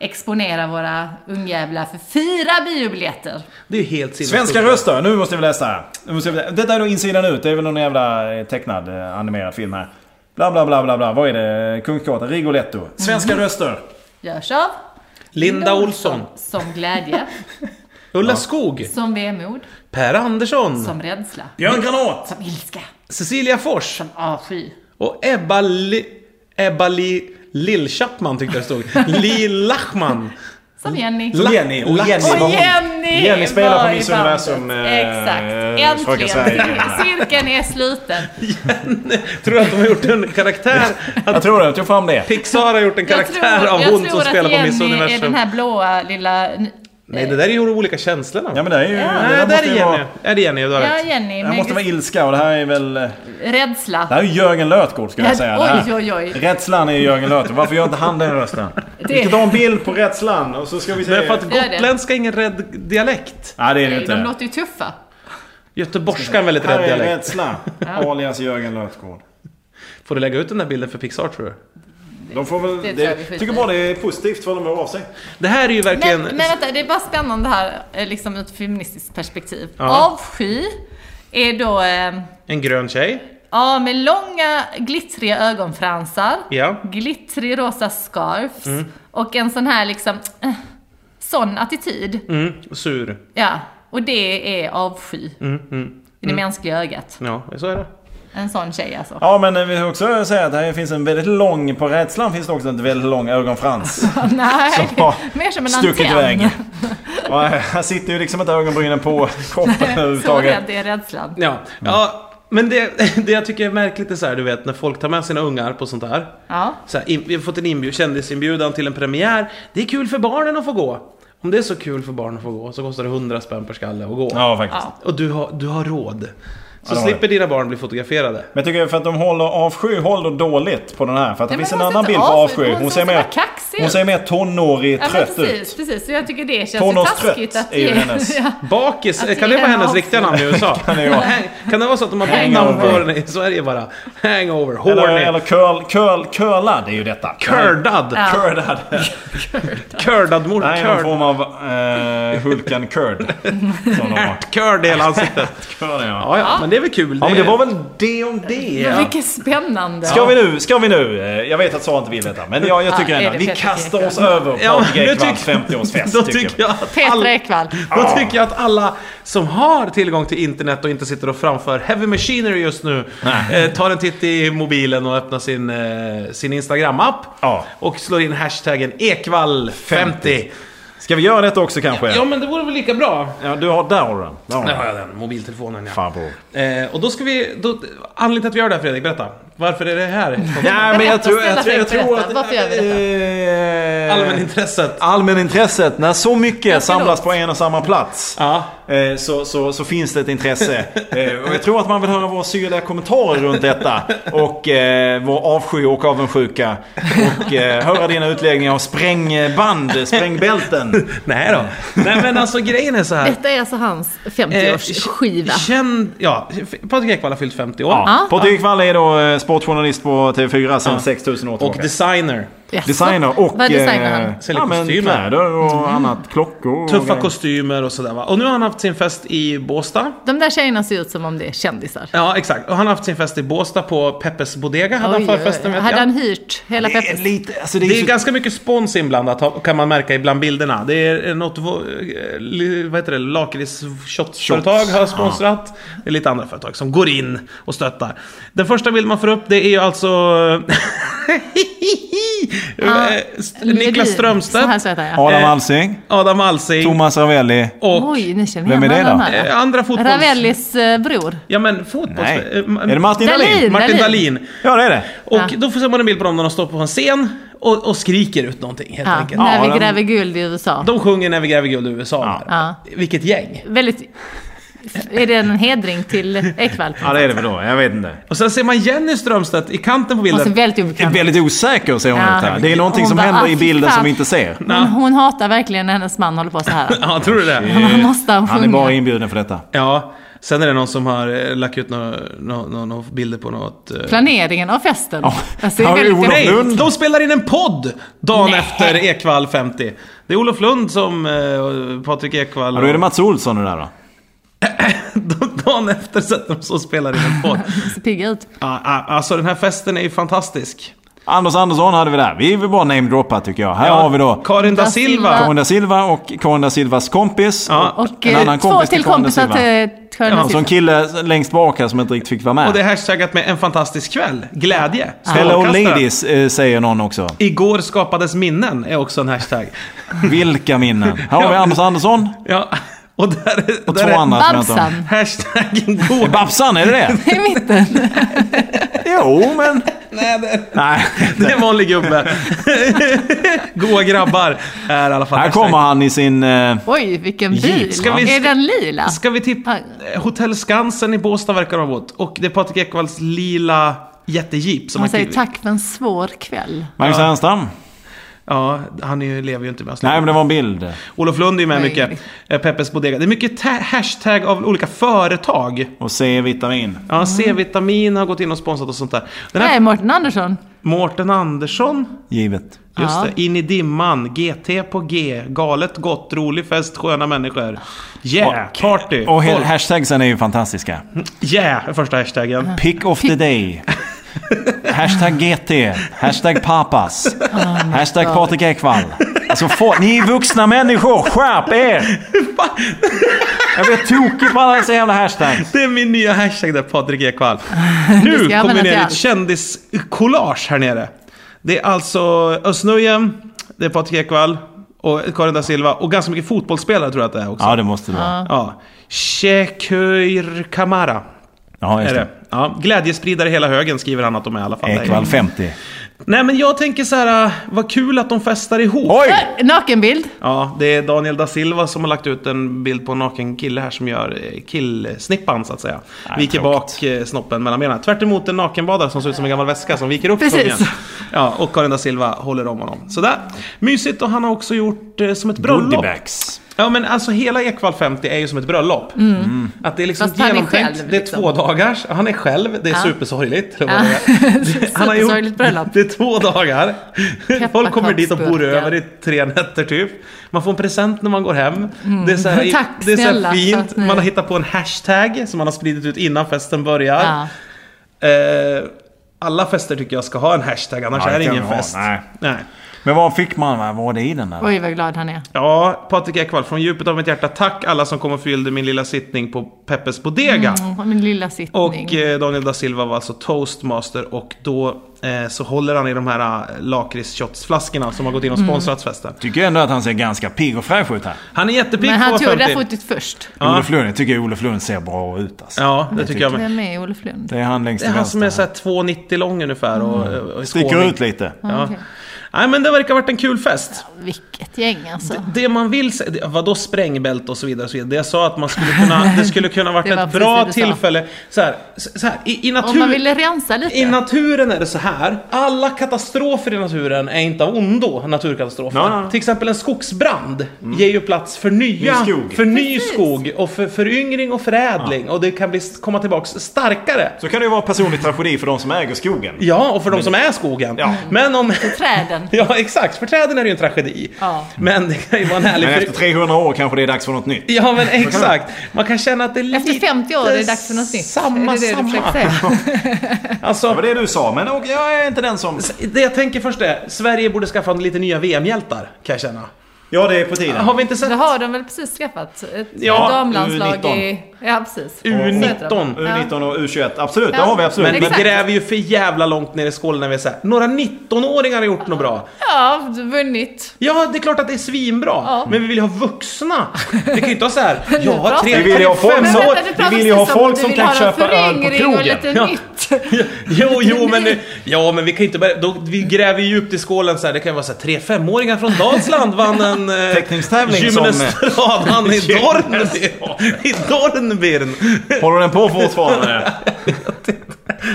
S5: exponera våra ungjävlar för fyra biobiljetter.
S3: Det är ju helt sinnessjukt.
S4: Svenska röster, nu måste vi läsa här. Nu måste vi, detta är då insidan ut, det är väl någon jävla eh, tecknad eh, animerad film här. Bla bla bla bla bla, vad är det? Kungsgatan, Rigoletto. Svenska röster.
S5: Görs av
S3: Linda Olsson.
S5: Som glädje.
S3: Ulla Skog.
S5: som vemod.
S3: Per Andersson.
S5: Som rädsla.
S4: Björn Granat!
S5: Som ilska.
S3: Cecilia Fors.
S5: Som avsky.
S3: Och Ebba Li... Ebba Li... Lill-Chapman tyckte jag det stod. Lill Lachman.
S5: Som Jenny.
S3: La-
S4: Jenny, och
S3: Lax-
S4: Jenny
S5: Och
S4: var hon.
S5: Jenny!
S4: Jenny spelar på
S5: var i
S4: Miss
S5: bandet.
S4: Universum, eh,
S5: Exakt.
S4: eh, Fröken
S5: Äntligen.
S4: Sverige.
S5: Cirkeln är sluten.
S3: Tror du att de har gjort en karaktär?
S4: Jag tror det, jag tog fram det.
S3: Pixar har gjort en karaktär av
S5: jag
S3: hon
S5: tror
S3: som
S5: att
S3: spelar på Miss
S5: Jenny är den
S3: Universum.
S5: här blåa lilla...
S3: Nej, det där är ju olika känslor. va?
S4: Ja men det är ju... det
S3: Nej, där
S4: måste
S3: är
S4: ju
S3: Jenny.
S4: vara-
S3: Är det Jenny? Du har
S5: Ja,
S3: rätt.
S5: Jenny.
S4: Det här måste vara
S5: Med
S4: ilska och det här är väl... eh, Det
S5: rädsla.
S4: här är ju Jörgen Lötgård skulle jag säga. Det här-
S5: Oj, oj, oj.
S4: Rädslan är ju Jörgen Lötgård. Varför gör inte han den rösten? Vi ska ta en bild på Rädslan och så ska vi se...
S3: Men för att
S5: Gör det.
S3: gotländska är ingen rädd dialekt.
S4: Nej det är det ju
S5: Nej,
S4: inte.
S5: De låter ju tuffa.
S3: Göteborgska är en väldigt
S4: Här
S3: rädd
S4: är
S3: dialekt.
S4: Rädsla. Alias Jörgen Lötgård.
S3: Får du lägga ut den där bilden för Pixar tror du?
S4: De får väl...
S5: Det
S4: Det,
S5: tror jag vi skiter
S4: tycker bara det är positivt för de hör av sig.
S3: Det här är ju
S5: Men,
S3: verkligen...
S5: men vänta, det är bara spännande här, eh, liksom ur ett feministiskt perspektiv.
S3: Ja.
S5: Avsky är då... Eh,
S3: En grön tjej.
S5: Ja, med långa glittriga ögonfransar,
S3: Ja.
S5: glittrig rosa scarfs
S4: Mm.
S5: och en sån här liksom, eh, sån attityd.
S3: Mm, sur.
S5: Ja, och det är avsky.
S4: Mm,
S5: I det mänskliga ögat.
S3: Ja, så är det.
S5: En sån tjej alltså.
S4: Ja men eh, vi kan också säga att här finns en väldigt lång... På Rädslan finns det också en väldigt lång ögonfrans.
S5: Nej,
S4: Som har
S5: mer som en
S4: stuckit
S5: antenn.
S4: iväg. Och här sitter ju liksom inte ögonbrynen på kroppen
S5: Så
S4: överhuvudtaget.
S5: rädd är rädslan.
S3: Ja,
S4: Mm.
S3: ja men det, det jag tycker är märkligt är så här, du vet när folk tar med sina ungar på sånt här.
S5: Ja.
S3: Så här in, vi har fått en inbjud, kändisinbjudan till en premiär. Det är kul för barnen att få gå. Om det är så kul för barnen att få gå så kostar det 100 spänn per skalle att gå.
S4: Ja faktiskt.
S5: Ja.
S3: Och du har, du har råd.
S4: Ja,
S3: Så
S4: det har
S3: slipper dina barn bli fotograferade.
S4: Men jag tycker för att de håller avsky håller dåligt på den här. För att det
S5: Nej,
S4: finns
S5: men
S4: en
S5: hon
S4: annan
S5: ser
S4: bild
S5: inte
S4: på
S5: avsky,
S4: avsky.
S5: hon
S4: Hon
S5: ser
S4: ser mer,
S5: bara kaxig
S4: hon
S5: ut.
S4: ser mer tonårig
S5: Ja, men
S4: trött ut.
S5: precis, precis. Så jag tycker det känns ju
S4: Tonårstrött
S5: taskigt att
S4: är ju
S5: ge-
S4: hennes.
S5: ja.
S3: Bakis,
S5: Att
S3: kan Alltså, det
S5: ge
S3: vara
S5: henne
S3: hennes
S5: avsky.
S3: riktiga namn i USA? kan,
S4: det vara.
S3: kan det vara så att de har fått namn på
S4: Hangover.
S3: den i Sverige bara? Hangover,
S4: Eller,
S3: horny,
S4: eller curl, curl, curlad är ju detta.
S3: kördad,
S4: Curdad.
S3: kördad mor,
S4: Det här är någon
S3: körd.
S4: form av eh, Hulken curd. Som de har.
S3: Körd i hela ansiktet.
S4: Curd, ja.
S3: Ja, ja, men det är väl kul.
S4: ja men det
S3: är-
S4: var väl det om det.
S5: Men Vilket spännande.
S4: Ska vi nu, ska vi nu. eh, Jag vet att Sara inte vill detta. Men jag, jag
S5: Ja,
S4: tycker
S5: är
S4: ändå.
S5: det
S4: Vi
S5: Peter
S4: kastar
S5: Ekwall?
S4: oss över
S3: Ja,
S4: Patrik
S3: nu
S4: Ekwalls
S3: tycker-
S4: 50-årsfest.
S3: Då
S4: tycker
S3: tycker jag att
S5: Petra
S3: alla,
S5: Ekvall.
S3: då tycker jag att alla som har tillgång till internet och inte sitter och framför heavy machinery just nu eh, tar en titt i mobilen och öppnar sin, eh, sin Instagram-app
S4: Ja.
S3: och slår in hashtaggen ekvall50.
S4: Ska vi göra detta också kanske?
S3: Ja, men det vore väl lika bra.
S4: Ja, du har, där har du den. Där har du
S3: Där har
S4: den.
S3: jag den, mobiltelefonen ja.
S4: Fan bror.
S3: Eh, och då ska vi... Då, anledningen till att vi gör det här Fredrik, berätta. Varför är det här?
S4: Nej, men jag tror, jag tror, jag
S5: Berätta,
S4: tror
S5: berätta.
S4: att...
S5: Varför gör vi
S4: detta?
S3: Allmänintresset.
S4: Allmänintresset, när så mycket
S5: förlåt.
S4: samlas på en och samma plats
S3: Ja.
S4: eh, så, så, så finns det ett intresse. Eh, Och jag tror att man vill höra våra syrliga kommentarer runt detta. Och eh, vår avsky och avundsjuka. Och eh, höra dina utläggningar av sprängband, sprängbälten.
S3: Nej då. Nej men alltså grejen är så här.
S5: Detta är alltså hans
S3: Eh,
S5: 50-årsskiva.
S3: Känd, ja, Patrik Ekwall har fyllt 50 år.
S4: Ja. Patrik Wall är då eh, sportjournalist på TV4 sedan 6000 år
S3: Och
S4: tillbaka.
S3: designer.
S5: Jaså?
S4: Designer och...
S5: Vad designar han?
S4: eh,
S3: Säljer
S4: ja, men
S3: kostymer.
S4: kläder och annat. Klockor och
S3: Mm. Tuffa
S4: grejer.
S3: kostymer och sådär va. Och nu har han haft sin fest i Båstad.
S5: De där tjejerna ser ut som om det är kändisar.
S3: Ja, exakt. Och han har haft sin fest i Båstad på Peppes Bodega. Hade han
S5: Oj, oj,
S3: förfesten
S5: oj.
S3: vet
S5: Hade
S3: jag.
S5: han hyrt hela
S4: Det är
S5: Peppes?
S4: lite... Alltså det är,
S3: Det är
S4: så,
S3: ganska mycket spons inblandat har- kan man märka ibland bilderna. Det är något, vo- eh, li- vad heter det, lakritsshotföretag har sponsrat. Det är lite andra företag som går in och stöttar. Den första bild man får upp det är ju alltså
S5: Ja,
S3: Eh, St- Niklas
S5: Så här
S3: Strömstedt,
S5: söta, ja.
S4: Adam
S3: eh,
S4: Alsing,
S3: Adam Alsing
S4: Thomas Ravelli.
S3: och
S5: Oj, ni känner
S4: Vem är
S5: igen
S4: det då?
S5: varandra här.
S3: eh, andra fotbolls...
S5: Ravellis eh, bror.
S3: Ja men fotbolls...
S4: Nej.
S3: eh, ma-
S4: Är det Martin
S5: Dahlin?
S4: Dahlin?
S3: Martin
S5: Dahlin?
S3: Dahlin.
S4: Ja, det är det.
S3: Och
S5: Ja.
S3: då får ser man en bild på dem när de står på en scen och, och skriker ut någonting helt
S5: Ja,
S3: enkelt.
S5: när
S4: Ja,
S5: vi
S4: den-
S5: gräver guld i USA.
S3: De sjunger När vi gräver guld i USA.
S4: Ja.
S5: Ja.
S3: Vilket gäng!
S5: Väldigt... Är det en hedring till Ekvall? Alltså,
S4: Ja, det är det väl då. Jag vet inte.
S3: Och sen ser man Jenny Strömstedt i kanten på
S5: Och så
S3: bilden.
S5: väldigt
S4: Det är
S5: obekant.
S4: väldigt osäker ser hon
S5: Ja.
S4: ut här. Det är någonting
S5: Hon
S4: som
S5: bara,
S4: händer
S5: "Ah,
S4: i
S5: fy
S4: bilden
S5: fan."
S4: som vi inte ser.
S5: Hon, hon hatar verkligen när hennes man håller på så här.
S3: Ja, tror du det?
S5: Man måste han
S4: Han är bara
S5: sjunga.
S4: inbjuden för detta.
S3: Ja. Sen är det någon som har eh, lagt ut några nå, nå, nå bilder på något... eh,
S5: Planeringen av festen. Alltså, det
S4: Ja,
S5: är väldigt
S4: Olof
S3: Nej!
S4: Lund.
S3: De spelar in en podd dagen
S5: Nej.
S3: efter Ekvall 50. Det är Olof Lund som eh, Patrik Ekwall...
S4: Ja, då är det Mats Olsson det där då.
S3: dagen efter sätter de sig och spelar in en podd.
S5: ser pigga ut.
S3: Ja, ja, alltså den här festen är ju fantastisk.
S4: Anders Andersson hade vi där. Vi vill bara namedroppa tycker jag. Här
S3: Ja,
S4: har vi då
S3: Karin da
S5: Da
S3: Silva.
S5: Silva.
S4: Karin da Silva och Karin da Silvas kompis.
S3: Ja.
S5: Och
S4: En
S5: eh,
S4: annan
S5: två
S4: kompis
S5: till
S4: till Karin da
S5: kompisar
S4: Silva.
S5: till Karin
S3: Ja,
S5: da
S4: Och så en
S5: Silva.
S4: kille längst bak här som inte riktigt fick vara med.
S3: Och det är hashtaggat med en fantastisk kväll. Glädje.
S4: Hello
S3: Strålkastaren.
S4: ladies eh, säger någon också.
S3: Igår skapades minnen är också en hashtag.
S4: Vilka minnen. Här har vi
S3: Ja.
S4: Anders Andersson
S3: Ja, och där är,
S4: och
S3: där
S4: två
S3: är
S4: andra som jag inte har.
S5: Babsan
S3: hashtaggen går.
S4: Babsan, är det det?
S5: i mitten.
S4: Jo, men...
S3: Nej, det,
S4: Nej.
S3: det är en vanlig gubbe. Goa grabbar är i alla fall
S4: Här
S3: hashtag.
S4: kommer han i sin... Eh,
S5: Oj, vilken bil.
S4: Jeep.
S3: Ska vi-
S5: Är den lila?
S3: Ska vi tippa? Hotell Skansen i Båstad verkar ha bott. Och det är Patrik Ekwalls lila jättejeep som
S5: Han
S3: han
S5: säger
S3: skriver.
S5: tack för en svår kväll.
S4: Magnus Härenstam.
S3: Ja, han är ju, lever ju inte med oss
S4: Nej,
S3: längre.
S4: men det var en bild.
S3: Olof Lund är ju med
S5: Nej.
S3: mycket. Eh, Peppes Bodega. Det är mycket ta- hashtag av olika företag.
S4: Och C-vitamin.
S3: Ja, C-vitamin har gått in och sponsrat och sånt där. Den här
S5: Mm. Nej, Mårten Andersson.
S3: Mårten Andersson.
S4: Givet.
S3: Just
S5: Ja.
S3: det. In i dimman. GT på G. Galet gott. Rolig fest. Sköna människor. Yeah!
S4: Och-
S3: Party!
S4: Och he-
S3: folk.
S4: hashtagsen är ju fantastiska.
S3: Yeah! är första hashtaggen.
S4: Pick of the day. Hashtag GT. Hashtag papas. Hashtag Patrik Ekwall. Alltså få, ni är vuxna människor, skärp er! Jag blir tokig på alla dessa jävla hashtags.
S3: Det är min nya hashtag där, Patrik Ekwall. Nu
S5: använda
S3: kommer
S5: till
S3: ner ett
S5: allt.
S3: kändiscollage här nere. Det är alltså Özz-Nujen, det är Patrik Ekwall och Karin da Silva och ganska mycket fotbollsspelare tror jag att det är också.
S4: Ja, det måste det vara.
S3: Ja. Shekhyr Kamara.
S4: Ja, just
S3: Är det.
S4: det.
S3: Ja, glädjespridare hela högen skriver han att de är i alla fall.
S4: Ekwall 50.
S3: Nej men jag tänker så här, äh, vad kul att de festar ihop.
S4: Oj!
S5: Ö, Eh, Nakenbild.
S3: Ja, det är Daniel da Silva som har lagt ut en bild på en naken kille här som gör eh, killsnippan så att säga. viker bak eh, snoppen mellan benen. Tvärt emot en nakenbadare som ser ut som en gammal väska som viker upp
S5: Precis.
S3: tungen. Ja, och Karin da Silva håller om honom. Sådär. Mysigt och han har också gjort eh, som ett bröllop.
S4: Goodiebags.
S3: Ja men alltså hela Ekwall 50 är ju som ett bröllop. Att det är liksom
S5: Mm. Fast han är
S3: genomtänkt.
S5: själv,
S3: det är
S5: liksom.
S3: två dagars. Han är själv. Det är supersorgligt. eller vad
S5: Ja.
S3: det är. Det- han har gjort-
S5: Supersorgligt bröllop.
S3: Det är två dagar. Folk kommer dit och bor
S5: Pepparkaksburkar.
S3: över i tre nätter typ. Man får en present när man går hem. Det är så här,
S5: Mm. Tack
S3: det är så här
S5: snälla för
S3: fint.
S5: att ni-
S3: Man har hittat på en hashtag som man har spridit ut innan festen börjar.
S5: Ja.
S3: Eh, alla fester tycker jag ska ha en hashtag, annars
S4: Ja, det
S3: är det
S4: kan
S3: ingen
S4: vi ha.
S3: fest.
S4: Nej.
S3: Nej.
S4: Men vad fick man? Vad var det i den där?
S5: Oj, vad glad han är.
S3: Ja, Patrik Ekwall, från djupet av mitt hjärta, tack alla som kom och fyllde min lilla sittning på Peppes Bodega.
S5: Mm, min lilla sittning.
S3: Och eh, Daniel da Silva var alltså toastmaster och då eh, så håller han i de här eh, lakritshotsflaskorna som har gått in och
S5: Mm.
S3: sponsrat festen.
S4: Tycker ändå att han ser ganska pigg och fräsch ut här.
S3: Han är jättepigg
S5: Men
S3: på
S5: han
S3: att
S5: tog det
S3: vara
S5: där
S3: 50.
S5: fotot först.
S4: Olof Lund, jag tycker Olof Lund ser bra ut alltså.
S3: Ja, det tycker jag med.
S5: Vem är Olof Lund?
S4: Det är han längst
S3: Det är
S4: till
S3: han som är
S4: vänster.
S3: såhär 2,90 lång ungefär och, och, och är
S4: Mm. Sticker
S3: skåning.
S4: ut lite.
S3: Ja.
S5: okej.
S3: Nej men det verkar ha varit en kul fest.
S5: Vilket gäng alltså.
S3: Det man vill se- det- vadå sprängbälte och så vidare och så vidare. Det jag sa att man skulle kunna, det skulle kunna varit
S5: Det var
S3: ett
S5: precis det
S3: bra
S5: du sa.
S3: tillfälle. Så här, så så här, i, i
S5: Om man
S3: natur,
S5: ville rensa lite.
S3: I naturen är det så här. Alla katastrofer i naturen är inte av ondo, naturkatastrofer.
S4: Nej, nej.
S3: Till exempel en skogsbrand ger ju plats för nya,
S4: Mm. Ny skog.
S3: för ny skog och för föryngring och förädling. Och det kan bli, komma tillbaks starkare.
S4: Så kan det ju vara personlig tragedi för de som äger skogen.
S3: Ja, och för de som är skogen.
S4: Ja.
S3: Men om...
S5: Träden. träden.
S3: Ja, exakt. För träden är det ju en tragedi.
S5: Ja.
S3: Men det kan ju vara en härlig...
S4: Men efter 300 år kanske det är dags för något nytt.
S3: Ja, men exakt. Man kan känna att det är lite...
S5: Efter 50 år är det dags för något nytt.
S3: Samma,
S5: är det det
S3: samma.
S5: du försökte säga?
S3: Alltså,
S4: Det var det du sa, men och, jag är inte den som...
S3: Det jag tänker först är, Sverige borde skaffa lite nya VM-hjältar, kan jag känna.
S4: Ja, det är på tiden.
S3: Har vi inte sett
S5: Det har de väl precis skaffat? Ett
S3: Ja,
S5: damlandslag
S4: U19.
S5: i... Ja, precis.
S3: U19?
S4: U19 och U21, absolut. Det
S5: Ja.
S4: har vi absolut.
S3: Men
S4: Men,
S3: vi
S5: Exakt.
S3: gräver ju för jävla långt ner i skålen när vi säger några 19-åringar har gjort något bra.
S5: Ja, vunnit.
S3: Ja, det är klart att det är svinbra, men vi vill ju ha vuxna. Vi kan ju inte ha så här, jag har
S5: pratar
S3: tre,
S5: du.
S4: Vi vill ju ha folk
S3: fem
S4: som-
S3: år.
S5: vänta, du
S4: vi
S5: pratar
S4: vill ju ha
S5: precis om
S4: folk
S5: du
S4: som
S5: vill
S4: kan
S5: ha en
S4: köpa öl på
S5: förringring Och
S4: krogen.
S5: lite
S3: Ja.
S5: nytt.
S3: Jo, jo, men, nu- ja, men vi kan ju inte börja, då, vi gräver ju djupt i skålen så här, det kan ju vara så här, tre femåringar från Dalsland vann en eh,
S4: Teckningstävling som-
S3: gymnastradvann i Dornbirn. I Dornbirn.
S4: Håller den på fortfarande?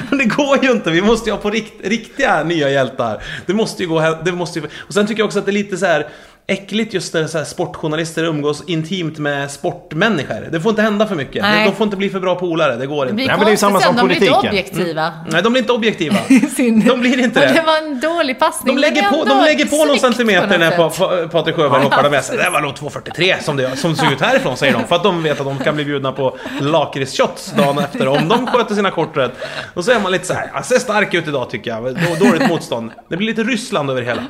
S3: Men det går ju inte, vi måste ju ha på rikt, riktiga nya hjältar. Det måste ju gå, he- det måste ju, och sen tycker jag också att det är lite så här äckligt just när så här sportjournalister umgås intimt med sportmänniskor. Det får inte hända för mycket.
S5: Nej.
S3: De får inte bli för bra polare, det går
S5: Det blir
S3: inte.
S4: men det är ju
S5: konstigt
S4: samma
S5: sen,
S4: som
S5: de blir inte
S4: politiken.
S5: objektiva.
S3: Nej, de blir inte objektiva.
S5: i sin-
S3: Mm. De blir inte
S5: Och
S3: det.
S5: Det var en dålig passning.
S3: De lägger,
S5: men
S3: på, de
S5: ändå
S3: lägger på någon
S5: snyggt
S3: centimeter
S5: något
S3: när pa,
S5: sätt.
S3: pa, Patrik Sjöberg
S5: Ja,
S3: hoppar med sig. Det
S5: precis.
S3: var nog 2.43 som, det, som såg ut härifrån säger de. För att de vet att de kan bli bjudna på lakritsshots dagen efter om de sköter sina kort rätt. Och så är man lite så här, han ser stark ut idag tycker jag. Då- Dåligt motstånd. Det blir lite Ryssland över det hela.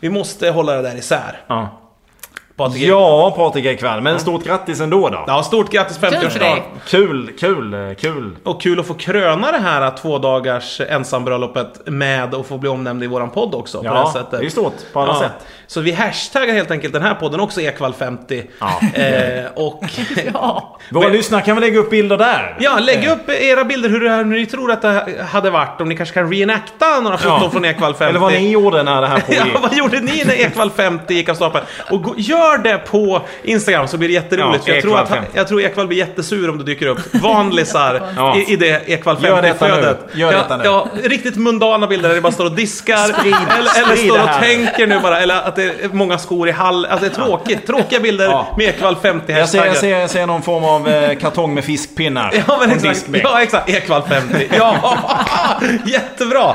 S3: Vi måste hålla det där isär.
S4: Ja.
S3: Patrik.
S4: Ja, Patrik Ekwall. Men stort grattis ändå då.
S3: Ja, stort grattis
S5: Kul för dig.
S3: 50-årsdagen.
S4: Kul, kul, eh, kul.
S3: Och kul att få kröna det här två dagars ensambröllopet med och få bli omnämnd i våran podd också.
S4: Ja,
S3: på det här sättet.
S4: det är stort på alla sätt.
S3: Så vi hashtaggar helt enkelt den här podden också, Ekvall50.
S4: Ja.
S3: Eh, och
S5: Ja.
S4: Våra
S3: Men-
S4: lyssnare kan väl lägga upp bilder där?
S3: ja, lägg upp era bilder hur det här, ni tror att det hade varit. Om ni kanske kan reenacta några foton
S4: Ja.
S3: från Ekvall50.
S4: Eller vad ni gjorde när det här
S3: Ja,
S4: pågick.
S3: vad gjorde ni när Ekvall50 gick av stapeln? Och gå, gör det på Instagram så blir det jätteroligt.
S4: Ja,
S3: för jag, tror att, han-
S4: Ekvall50.
S3: jag tror Ekvall blir jättesur om du dyker upp. Vanlisar
S4: Ja.
S3: i, i det
S4: Gör detta
S3: Ekvall50-flödet.
S4: nu. Gör
S3: ja,
S4: detta nu.
S3: Ja, riktigt mundana bilder där det bara står och diskar. eller eller
S4: sprid
S3: står
S4: det
S3: och
S4: här.
S3: tänker nu bara. Eller att det är många skor i hall. Alltså det är tråkigt. Tråkiga bilder
S4: Ja.
S3: med Ekvall50
S4: Jag ser, jag, ser, jag ser någon form av eh, kartong med fiskpinnar.
S3: Ja,
S4: på
S3: men
S4: en
S3: exakt.
S4: diskbänk.
S3: Ja, exakt. Ekvall 50. Ja, jättebra.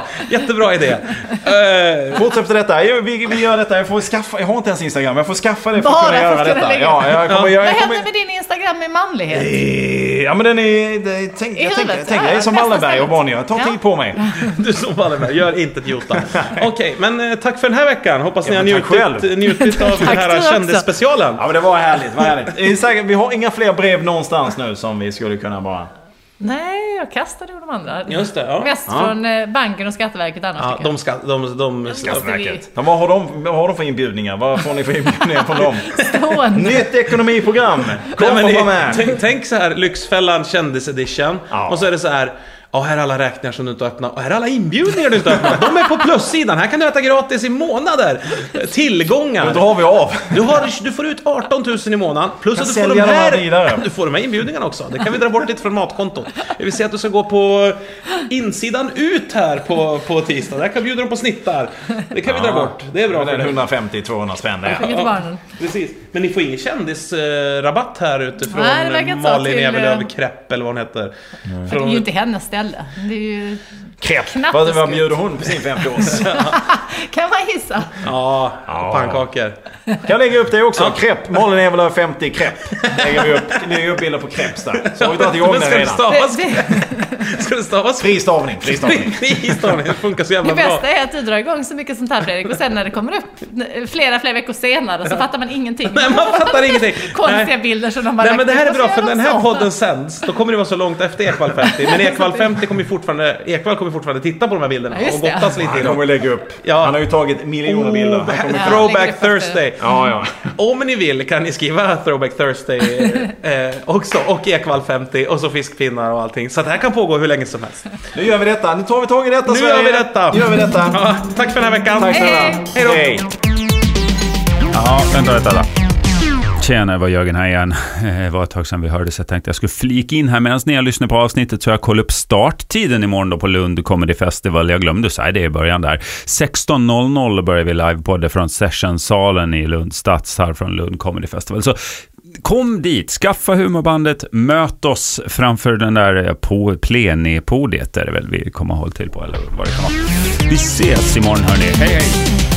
S3: Jättebra idé. Eh,
S4: Fortsätt efter detta. Jo, Vi, vi gör detta. Jag, får skaffa, jag har inte ens Instagram. Jag får skaffa det för
S5: Bara
S4: att kunna
S5: för att
S4: göra
S5: kunna
S4: detta.
S5: lägga
S4: Ja, jag kommer, jag,
S5: Vad
S4: jag kommer,
S5: hände med din Instagram med manlighet?
S4: Eh, Ja men den är... Det, tänk, jag, tänker,
S5: I
S4: jag,
S5: huvudet,
S4: tänker, jag är
S5: ja,
S4: som
S5: nästan
S4: Wallenberg och
S5: ställt.
S4: Bonnier. Jag tar
S5: Ja.
S4: tid på mig.
S3: Du som Wallenberg, gör inte ett jota. Okej, men eh, tack för den här veckan. Hoppas ni
S4: Ja,
S3: har
S4: men tack
S3: njutit, eh,
S4: själv.
S3: njutit av den
S5: Tack du
S3: här
S5: också.
S3: kändisspecialen.
S4: Ja men det var härligt. Var härligt. Instagram, Eh, vi har inga fler brev någonstans nu som vi skulle kunna bara...
S5: Nej, jag kastade ju de andra.
S3: Just det, ja.
S5: Mest från eh, banken och Skatteverket annars
S3: Ja,
S5: tycker jag.
S3: de ska... De, de,
S5: Ska
S3: Alltså,
S5: vi-
S4: Men vad har de, vad har de för inbjudningar? Vad får ni för inbjudningar från dem?
S5: Stående.
S4: Nytt ekonomiprogram! Kom
S3: Nej, men
S4: och
S3: ni-
S4: var med!
S3: tänk, tänk så här, Lyxfällan kändisedition.
S4: Ja.
S3: Och så är det så här... Ja, här är alla räkningar som du inte har öppnat och här är alla inbjudningar du inte har öppnat. De är på plussidan. Här kan du äta gratis i månader.
S4: Då
S3: Tillgångar.
S4: drar vi av.
S3: Du, har, du får ut 18 000 i månaden. Plus
S4: Kan
S3: att du får, de
S4: sälja de här
S3: här,
S4: vidare.
S3: du får de här inbjudningarna också. Det kan vi dra bort lite från matkontot. Jag vill säga att du ska gå på insidan ut här på, på tisdag. Där kan bjuda dem på snittar. Det kan vi dra bort. Det är bra.
S4: Den
S3: för dig.
S4: 150-200 spänn det.
S5: Skicka till barnen.
S3: Precis. Men ni får ingen kändisrabatt här utifrån
S5: Nej, det verkar inte så.
S3: Malin
S5: Till, eh,
S3: Evelöv Krepp eller vad hon heter.
S5: Det är ju
S3: Från,
S5: inte hennes ställe. Det är ju...
S4: Krepp!
S5: Knappt
S4: Vad, vad
S5: skumt.
S4: bjuder hon på sin 50-års?
S5: Kan man gissa?
S3: ja,
S4: Ja.
S3: pannkakor.
S4: Kan jag lägga upp det också? Krepp! Malin är väl över 50 krepp. Lägger vi upp, lägger upp bilder på crepes där. Så har vi dragit igång
S3: Men
S4: den
S3: ska det
S4: redan.
S3: stavas...
S5: Det, det,
S3: Ska det stavas...
S4: Fri stavning, fri stavning.
S3: Fristavning, det funkar så
S5: det
S3: jävla bra.
S5: bästa är att du drar igång så mycket sånt här Fredrik och sen när det kommer upp flera, flera veckor senare så fattar man ingenting.
S3: Nej, man fattar ingenting.
S5: Konstiga
S3: Nej.
S5: bilder som de har
S3: Nej men det
S5: lagt
S3: här är
S5: upp.
S3: bra
S5: Och så
S3: för
S5: gör
S3: när den
S5: de
S3: här
S5: sånt.
S3: podden sänds, då kommer det vara så långt efter Ekvall 50. Men Ekvall 50 kommer ju fortfarande, Ekvall kommer fortfarande titta på de här bilderna
S5: Ja,
S3: och
S5: just det.
S3: gottas lite i
S4: Han kommer
S3: dem.
S4: lägga upp.
S3: Ja. Oh,
S4: Han har ju tagit miljoner bilder. Han kommer...
S5: Ja, lägger
S3: Throwback
S5: upp efter.
S3: Thursday.
S4: Ja, ja.
S3: Om ni vill kan ni skriva Throwback Thursday eh, också och Ekvall 50 och så fiskpinnar och allting. Så det här kan pågå hur länge som helst.
S4: Nu gör vi detta. Nu tar vi tag i detta
S3: Nu
S4: Sverige.
S3: gör vi detta!
S4: Nu gör vi detta.
S3: Ja, tack för den här veckan!
S4: Tack snälla.
S5: Hej,
S3: hej. Hej
S1: Ja, vänta, vänta, vänta. Tjena, det var Jörgen här igen. Eh, Det var ett tag sedan vi hördes. Jag tänkte jag skulle flika in här medan ni har lyssnat på avsnittet så jag kollar upp starttiden imorgon då på Lund Comedy Festival. Jag glömde att säga det i början där. 16.00 börjar vi livepodda från Sessionsalen i Lund Stadshall från Lund Comedy Festival. Så kom dit, skaffa humorbandet, möt oss framför den där eh, på plenipodiet där det väl vi kommer att hålla till på eller vad det kan vara. Vi ses imorgon hörni. Hej hej!